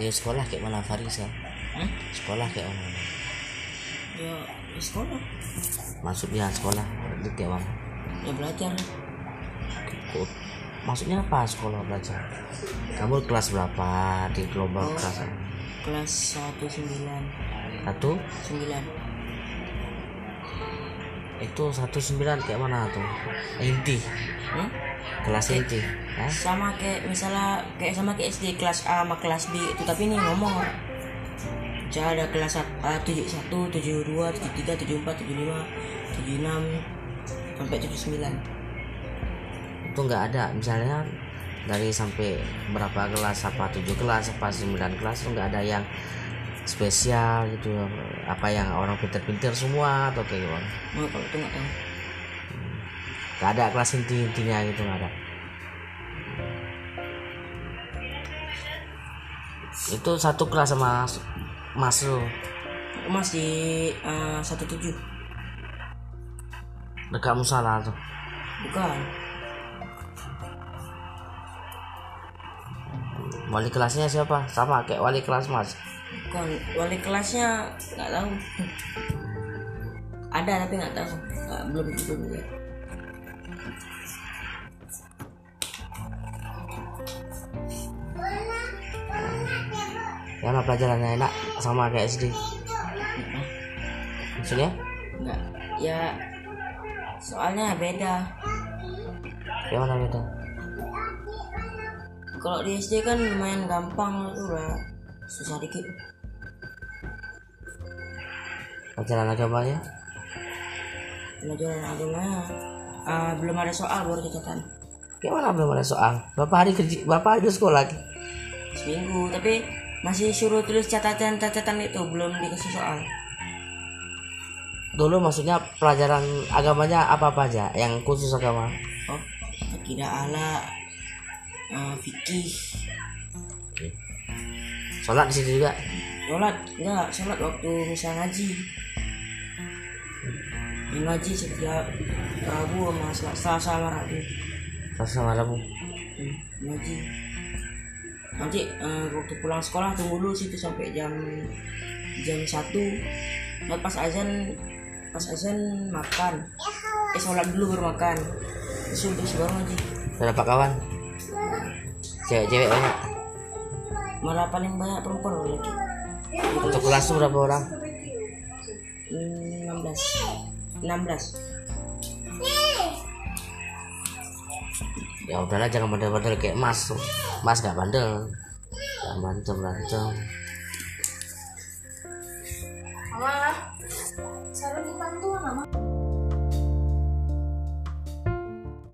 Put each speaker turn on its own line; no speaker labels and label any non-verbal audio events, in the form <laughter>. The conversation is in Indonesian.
dia sekolah kayak mana Farisa
Hah?
sekolah kayak mana
ya di sekolah
maksudnya sekolah itu kayak mana
ya belajar lah.
Kok- maksudnya apa sekolah belajar kamu kelas berapa di global
Oh.
kelas apa?
kelas satu sembilan
satu
sembilan
itu satu sembilan kayak mana tuh inti
Hah?
kelas inti ya. Hah?
sama kayak misalnya kayak sama kayak SD kelas A sama kelas B itu tapi ini nomor Jadi ada kelas A, 71, 72, 73, 74, 75, 76 sampai 79
itu nggak ada misalnya dari sampai berapa kelas apa tujuh kelas apa sembilan kelas itu nggak ada yang spesial gitu apa yang orang pinter-pinter semua atau kayak gimana
Nah, kalau itu nggak tahu
nggak ada kelas inti intinya gitu nggak ada itu satu kelas sama mas, mas lu
Aku masih eh, 17
dekat musala tuh
bukan
wali kelasnya siapa sama kayak wali kelas mas
bukan wali kelasnya nggak tahu <laughs> ada tapi nggak tahu Nggak- belum belum lihat
ya mah pelajarannya enak sama kayak SD maksudnya
nggak ya soalnya beda
kayak mana beda
Kalau di SD kan lumayan gampang itu lah susah dikit.
pelajaran agamanya
Pelajaran agama ah, belum ada soal baru catatan
kayak mana belum ada soal berapa hari kerja berapa hari di sekolah
seminggu tapi masih suruh tulis catatan-catatan itu belum dikasih soal.
dulu maksudnya pelajaran agamanya apa apa aja yang khusus agama
Oh, akidah ala ah, fikih
sholat di situ juga
sholat enggak sholat waktu misal ngaji yang ngaji setiap Rabu sama Sel- Selasa sama Rabu
Terus sama Rabu
Hmm, ngaji nanti eh, waktu pulang sekolah tunggu dulu situ sampai jam jam satu nah, pas azan pas azan makan eh sholat dulu baru makan terus terus baru ngaji
berapa kawan cewek-cewek banyak
malah paling banyak perempuan loh lagi
untuk kelas tuh berapa orang
Hmm, enam belas enam belas
ya udahlah jangan bandel-bandel kayak mas tuh. mas gak bandel jangan bandel berantem
Mama, sarung hitam tuh mama.